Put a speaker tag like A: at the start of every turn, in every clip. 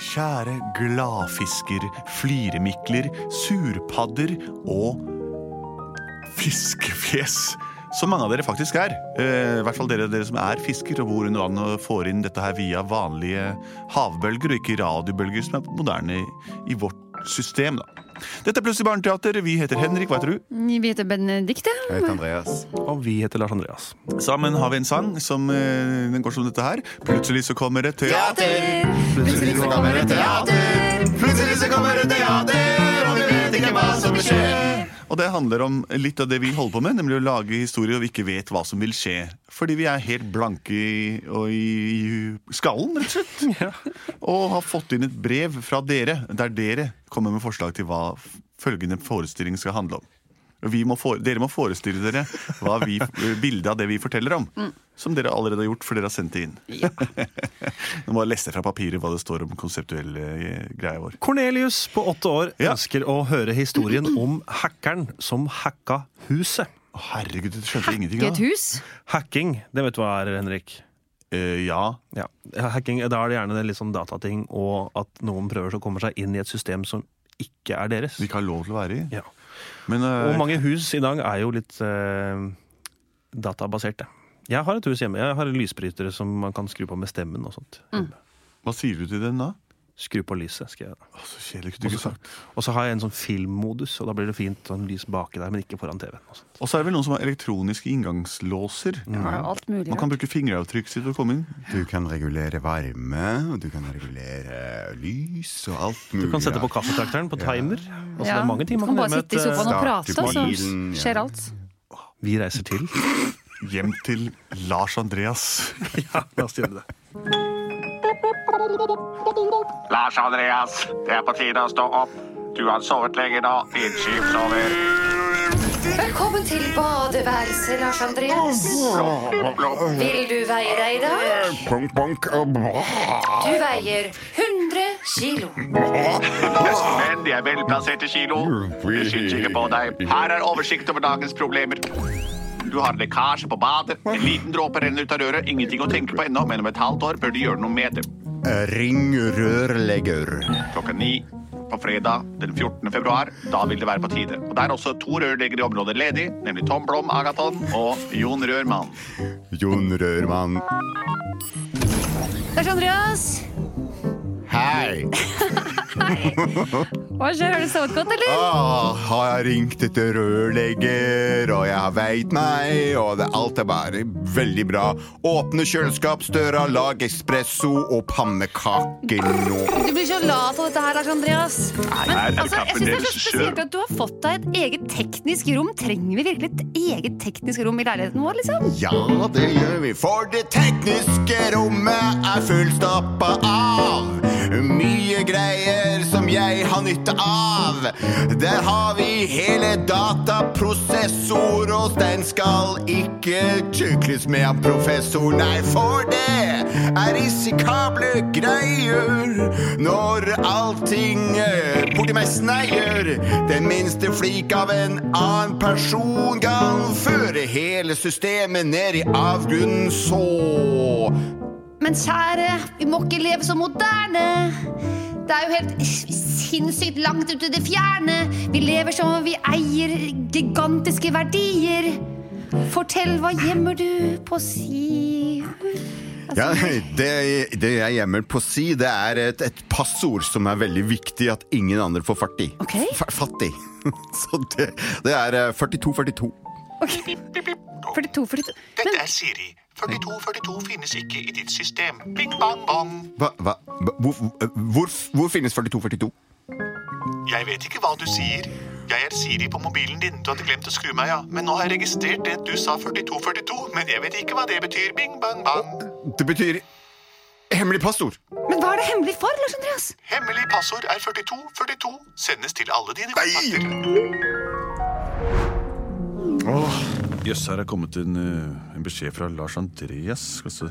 A: Kjære gladfisker, fliremikler, surpadder og fiskefjes. Som mange av dere faktisk er. Eh, I hvert fall dere, dere som er fisker og bor under vann og får inn dette her via vanlige havbølger og ikke radiobølger, som er moderne i vårt system. da. Dette er Plutselig barneteater. Vi heter Henrik, hva heter du?
B: Vi heter Benedikte.
C: Jeg heter Andreas.
D: Og vi heter Lars Andreas.
A: Sammen har vi en sang som eh, den går som dette her. Plutselig så kommer et teater.
C: Plutselig så kommer det teater. Plutselig så kommer det teater, og vi vet ikke hva som vil skje.
A: Og det handler om litt av det vi holder på med, nemlig å lage historier og vi ikke vet hva som vil skje. Fordi vi er helt blanke i, og i, i skallen, rett og slett. Og har fått inn et brev fra dere, der dere kommer med forslag til hva f- følgende forestilling skal handle om. Og Vi må fore, dere må forestille dere hva vi, bildet av det vi forteller om. Som dere allerede har gjort, for dere har sendt det inn. Nå må jeg lese fra papiret hva det står om konsertuelle eh, greia vår.
D: Cornelius på åtte år
A: Ja.
D: ønsker å høre historien om hackeren som hacka huset.
A: Å, Herregud, du skjønte ingenting
B: Et
A: av
B: hus.
D: Hacking, det vet du hva er, Henrik?
A: Eh, ja.
D: Ja, hacking, Da er det gjerne det litt sånn datating, og at noen prøver å komme seg inn i et system som ikke er deres.
A: Vi ikke har lov til å være i.
D: Ja.
A: Men eh,
D: Og mange hus i dag er jo litt eh, databaserte. Jeg har et hus hjemme. Jeg har lysbrytere som man kan skru på med stemmen og sånt.
A: hva sier du til den da?
D: Skru på lyset, skal jeg da.
A: Å, så kjedelig kunne du ikke sagt.
D: Og så har jeg en sånn filmmodus, og da blir det fint sånn lys baki der, men ikke foran TV-en. altså. og sånt.
A: Og så er det vel noen som har elektroniske inngangslåser.
B: Ja, alt mulig.
A: Man kan bruke fingeravtrykk sitt til å komme inn.
C: Du kan regulere varme, og du kan regulere lys og alt mulig.
D: Du kan sette på kaffetrakteren på timer. Altså, det er mange ting
B: Du
D: man
B: kan
D: kan
B: bare
D: gjøre med
B: sitte i
D: et,
B: sofaen og
C: start
B: prate,
C: i
B: og så
C: bilen, ja.
B: skjer alt.
D: eh, Vi reiser til.
A: Hjem til Lars Andreas.
D: ja, la oss gjøre det.
E: Lars Andreas, det er på tide å stå opp. Du har sovet lenge nå. Din skip sover.
F: Velkommen til badeværelset, Lars Andreas. Vil du veie deg i dag? Du veier 100 kilo.
E: Men de er velplasserte kilo. Det skyter ikke på deg. Her er oversikt over dagens problemer. Du har lekkasje på badet. En liten dråpe renner ut av røret. Ingenting å tenke på ennå, men om et halvt år bør du gjøre noe med det.
C: Ring rørlegger.
E: Klokka ni på fredag den 14. februar. Da vil det være på tide. Og Det er også to rørleggere i området ledig, nemlig Tom Blom Agaton og Jon Rørmann.
C: Jon Rørmann.
B: Lars Andreas,
C: Hei!
B: hva skjer? Har du sovet godt, eller?
C: Ah, har jeg ringt etter rørlegger, og jeg har veit meg, og det, alt er bare veldig bra. Åpne kjøleskapsdøra, lag espresso og pannekaker nå.
B: Du blir så lat av dette her, Lars Andreas. Men
E: her er det
B: altså, jeg
E: kaffen
B: synes det er så
E: deres
B: spesielt
E: selv.
B: at du har fått deg et eget teknisk rom. Trenger vi virkelig et eget teknisk rom i leiligheten vår, liksom?
C: Ja, det gjør vi, for det tekniske rommet er fullstappa av mye greier som jeg har nytte av. Der har vi hele dataprosessor, og den skal ikke tykles med av professor, nei, for det er risikable greier når allting eh, borti meg sneier. Den minste flik av en annen person kan føre hele systemet ned i avgrunnen, så
F: Men kjære, vi må ikke leve så moderne. Det er jo helt sinnssykt langt ut i det fjerne. Vi lever som om vi eier gigantiske verdier. Fortell, hva gjemmer du på si?
C: Ja, det, det jeg gjemmer på å si, det er et, et passord som er veldig viktig at ingen andre får fatt i.
B: Ok.
C: Fa- Fattig. Så det, det er eh, 4242.
B: 42, 42.
E: Dette er Siri. 4242 finnes ikke i ditt system. Bing, bang, bang.
C: Hva, hva, hvor, hvor, hvor finnes 4242?
E: Jeg vet ikke hva du sier. Jeg er Siri på mobilen din. Du hadde glemt å skru meg av. Men nå har jeg registrert det at du sa 4242. Men jeg vet ikke hva det betyr. Bing, bang, bang.
C: Det betyr hemmelig passord.
B: Men hva er det hemmelig for, Lars Andreas?
E: Hemmelig passord er 4242. Sendes til alle dine kontakter.
A: Jøss, her er kommet en, eh, en beskjed fra Lars Andreas. Skal se.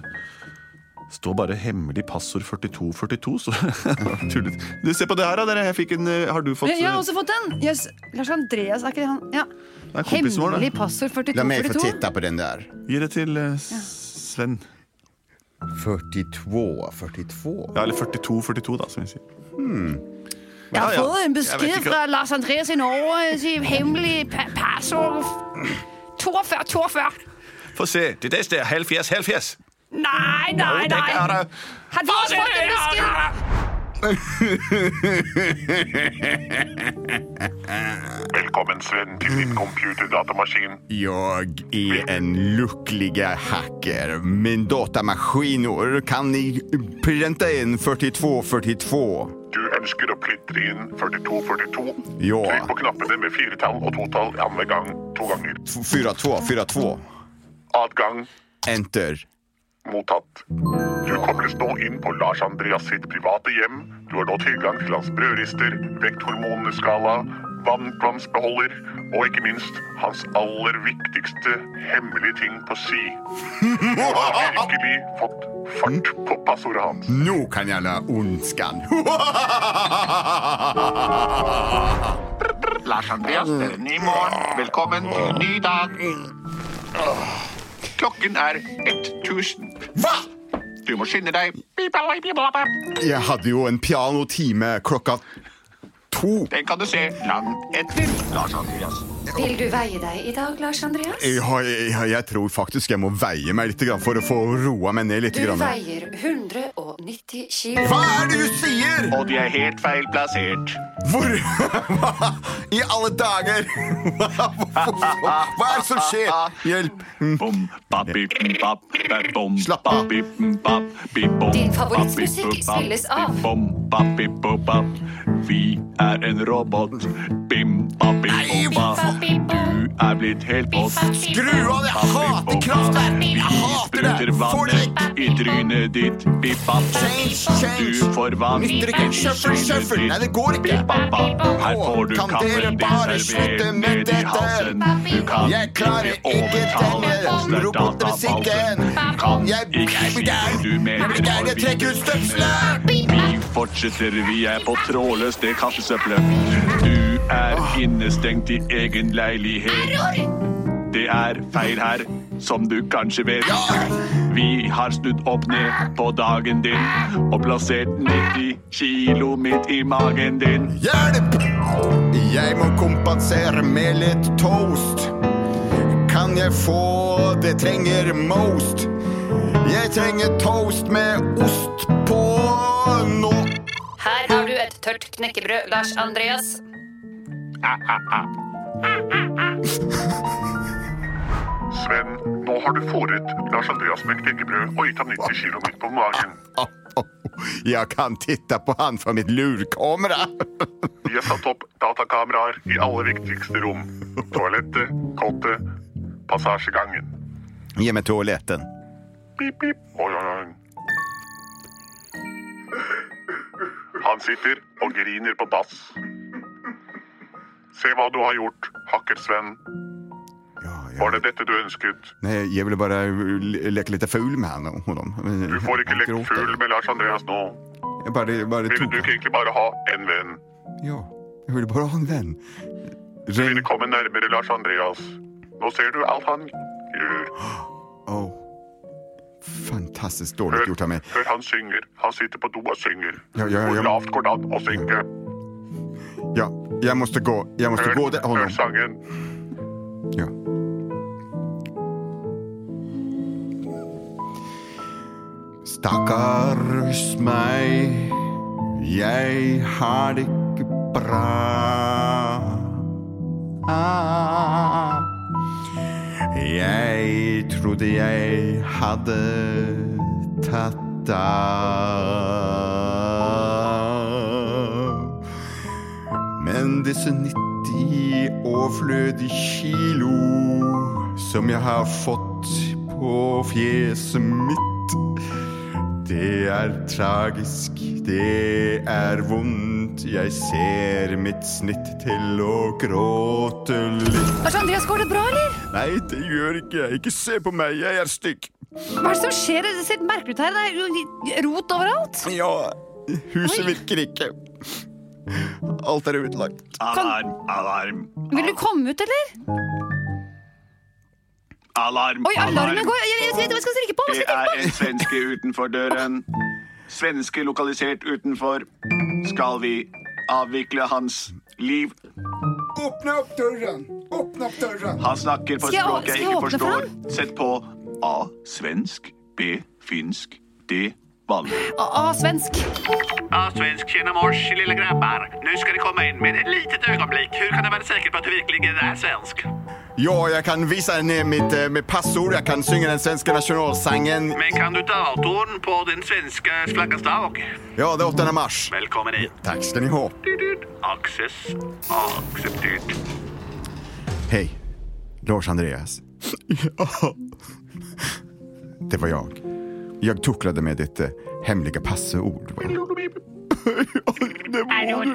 A: Står bare 'hemmelig passord 4242', så tullet. Du, se på det her, da. Dere. Jeg fikk en, eh, har du fått
B: Jeg har
A: eh,
B: også fått den! Jøss, Lars Andreas, er ikke det han? Ja.
A: Det er kompisen vår,
B: Hemmelig
A: det.
B: passord
C: La meg få
B: 4242.
C: titte på den der.
A: Gi det til eh, Sven.
C: 42 42
A: Ja, eller 42-42, da, som vi sier.
B: Jeg har
A: Ja, ja.
B: fått en
A: Jeg
B: beskjed
A: vet ikke.
B: fra Lars Andreas i Norge til hemmelig pa- passord 42, 42.
E: Få se. Det neste er 70 70.
B: Nei, nei,
E: det
B: nei.
E: er det.
B: Har vi fått en beskjed?
G: Velkommen, Sven, til din computerdatamaskin.
C: Jag är en lycklig hacker. Min datamaskinor kan ni printa in 42 42.
G: Du ønsker å plintre inn 4242.
C: Ja.
G: Trykk på knappene med firetall og totall andre gang to ganger.
C: 42 42.
G: Adgang
C: Enter.
G: mottatt. Du kobles nå inn på Lars Andreas sitt private hjem. Du har nå tilgang til hans brødrister, vekthormonenes skala, vannkvamsbeholder og ikke minst hans aller viktigste hemmelige ting på si. Du har virkelig fått fart på passordet hans.
C: Nu kan jag la ondskan.
E: Lars Andreas, det er
B: Mm.
E: en ny morgen. Velkommen til en ny dag. Klokken er 1000.
C: Va?
E: Du må skynde deg.
C: Jag hade ju en pianotime klockan två.
E: Den kan du se langt etter, Lars Andreas.
F: Vil du veie deg i dag, Lars Andreas?
C: Jag, jag, jag tror faktiskt jag må väja mig lite grann för att få roa mig ner lite
F: Du
C: grann.
F: veier 190 kilo.
C: Vad är det du säger?
E: Og de er helt feil plassert.
C: Hvor Hva i alle dager? Hva, hva er det som skjer? Hjelp!
E: Bom, bap, bip, bap, bap, bom,
C: Slapp
E: bap,
C: av.
E: bip, bap, bip, bom,
F: Din
E: bap,
F: favorittmusikk
E: bip, bap,
F: spilles
E: bip,
F: av.
E: Bom, bap, bip, bop, bap. Vi er en robot. Bim, bap, bip, bop, bap. Du er blitt helt våt.
C: Skru av! Jeg hater kraftverk! Jeg hater det!
E: Sprøyter
C: Få det vekk!
E: vannet i trynet ditt. Bippa.
C: Change, change.
E: Du får vann
C: Nytter ikke.
E: i
C: Shuffle,
E: trynet
C: shuffle.
E: ditt.
C: Nei, det går ikke.
E: Bippa. Her får du
C: Kan dere
E: kaffen
C: bare
E: din
C: slutte
E: servert
C: med
E: ned i
C: dette?
E: halsen. Du kan
C: Jeg klarer
E: ikke
C: ikke
E: overtale
C: denne
E: oss. Det er
C: robotmusikken.
E: databasen. Du kan
C: Jeg
E: ikke
C: blir
E: si
C: gæren.
E: du mener
C: Jeg blir gæren.
E: når
C: Jeg
E: vi
C: trekker ut støvselen!
E: vi fortsetter, vi er på trådløst, det kaffesøppelet. Du er innestengt i egen leilighet. Det er feil her, som du kanskje vet. Vi har snudd opp ned på dagen din og plassert 90 kilo midt i magen din.
C: Hjelp! Jeg må kompensere med litt toast. Kan jeg få det trenger most? Jeg trenger toast med ost på nå.
F: Her har du et tørt knekkebrød, Lars Andreas.
G: Sven, nå har du fôret Lars Andreas med knekkebrød og gitt ham 90 kilo midt på magen.
C: Jeg kan titta på han fra mitt lurkamera.
G: Vi har satt opp datakameraer i alle viktigste rom. Toalettet, kottet, passasjegangen.
C: Gi meg toaletten.
G: Pip, pip. Oi, oi, oi. Han sitter og griner på dass. Se hva du har gjort, Hakker-Sven.
C: Ja, ja.
G: Var det dette du ønsket?
C: Nej, jag ville bara le- leka lite ful med han- honom.
G: Du får ikke lekt fugl med Lars Andreas nå.
C: Jag bara, bara
G: Ville
C: tog
G: du ikke egentlig bare ha en venn?
C: Ja, jag ville bara ha en vän.
G: Du
C: Ring...
G: ville komme nærmere Lars Andreas. Nå ser du alt han eh, gjør.
C: Oh. Fantastiskt dåligt gjort av
G: Hør,
C: mig.
G: hør han synger. Han sitter på do og synger.
C: Ja, ja, ja.
G: Hvor lavt går det an å synge?
C: Ja, jag måste gå. Jag måste gå
G: Hør,
C: där. Honom.
G: hør sangen.
C: Ja. Stakkars meg, jeg har det ikke bra. Ah. Jeg trodde jeg hadde tatt av. Men disse 90 overflødige kilo som jeg har fått på fjeset mitt, det er tragisk, det er vondt. Jeg ser mitt snitt til å gråte litt.
B: Lars Andreas, går det bra, eller?
C: Nei, det gjør ikke jeg. Ikke se på meg, jeg er stygg.
B: Hva er det som skjer? Det ser merkelig ut her. Det er jo rot overalt.
C: Ja, huset
B: Oi.
C: virker ikke. Alt er
B: Sånn.
C: utlagt.
E: Alarm, alarm.
B: Vil du komme ut, eller?
E: Alarm!
B: Oi, alarmen går! Jeg jeg vet ikke hva jeg skal trykke på! Hva
E: Det
B: skal jeg
E: er et
B: trykke på?
E: svenske utenfor døren. Svenske lokalisert utenfor. Skal vi avvikle hans liv?
H: Åpne opp døren! Åpne opp døren!
E: Han snakker på
B: Skal jeg-
E: et språk
B: skal
E: jeg
B: jeg
E: ikke
B: åpne for
E: forstår. Sett på A. Svensk. B. Finsk. D. Vanlig.
B: Å, å, svensk.
E: A. Svensk. Tjena mors, lille grabbar. Nå skal dere komme inn, men et lite øyeblikk. Hvordan kan dere være sikre på at du virkelig er svensk?
C: Jo, jeg kan vise henne mitt eh, med passord. Jeg kan synge den svenske nasjonalsangen.
E: Men kan du datoen på den svenske flaggas dag?
C: Ja, det er 8. mars.
E: Velkommen hit.
C: Takk skal ni ha.
E: Aksess akseptert.
C: Hej, Lars Andreas. Ja. Det var jag. Jag tucklade med ditt eh, hemliga passord. Va? Ja, det var du.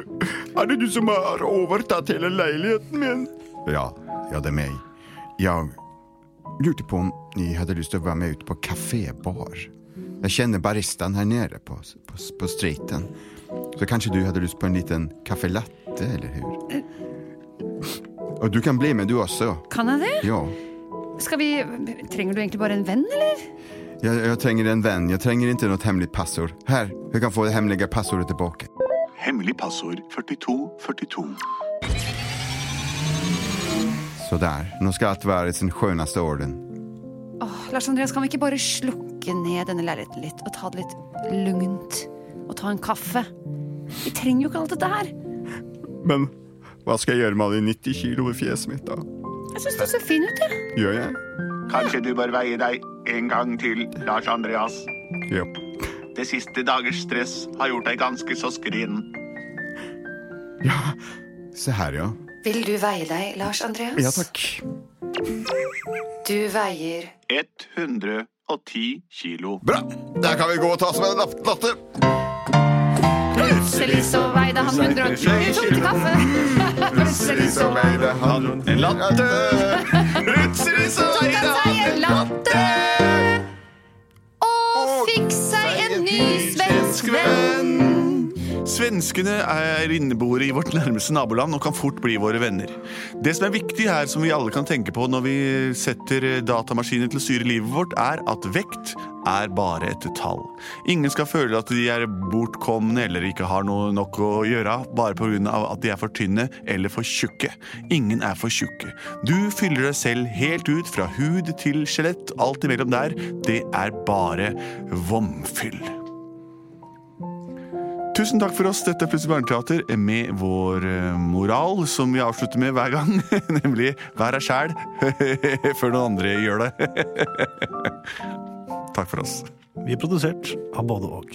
C: Er det du som har overtatt hele leiligheten min? Ja, ja, det er meg. Jeg lurte på om ni hadde lyst til å være med ut på kafébar. Jeg kjenner baristan her nede på, på, på streeten. Så kanskje du hadde lyst på en liten caffè latte, eller hur? Og du kan bli med du også.
B: Kan jeg det?
C: Ja.
B: Skal vi Trenger du egentlig bare en venn, eller?
C: Jeg, jeg trenger en venn. Jeg trenger ikke noe hemmelig passord. Her, jeg kan få det hemmelige passordet tilbake.
E: Hemmelig passord 4242.
C: Så der. Nå skal alt være i sin skjønneste orden.
B: Åh, Lars Andreas, kan vi ikke bare slukke ned denne leiligheten litt og ta det litt lugnt? Og ta en kaffe? Vi trenger jo ikke alt dette her.
C: Men hva skal jeg gjøre med alle de 90 kilo i fjeset mitt, da?
B: Jeg syns du ser fin ut, jeg.
C: Gjør jeg?
E: Kanskje du bør veie deg en gang til, Lars Andreas.
C: Ja.
E: Det siste dagers stress har gjort deg ganske så skrin.
C: Se her, ja.
I: Vil du veie deg, Lars Andreas?
C: Ja takk.
I: Du veier
E: 110 kilo.
C: Bra! Der kan vi gå og ta oss med en lapp- latte.
B: Plutselig så veide han 120 tok til kaffe.
C: Plutselig så veide han en latte. Plutselig så veide
B: seg en latte. Og fikk seg en ny svensk venn.
A: Svenskene er inneboere i vårt nærmeste naboland og kan fort bli våre venner. Det som er viktig her, som vi alle kan tenke på når vi setter datamaskiner til å styre livet vårt, er at vekt er bare et tall. Ingen skal føle at de er bortkomne eller ikke har noe nok å gjøre bare pga. at de er for tynne eller for tjukke. Ingen er for tjukke. Du fyller deg selv helt ut fra hud til skjelett, alt imellom der. Det er bare vomfyll. Tusen takk for oss. Dette er Plutselig barneteater med vår eh, moral, som vi avslutter med hver gang. Nemlig vær deg sjæl før noen andre gjør det. takk for oss.
D: Vi er produsert av både og.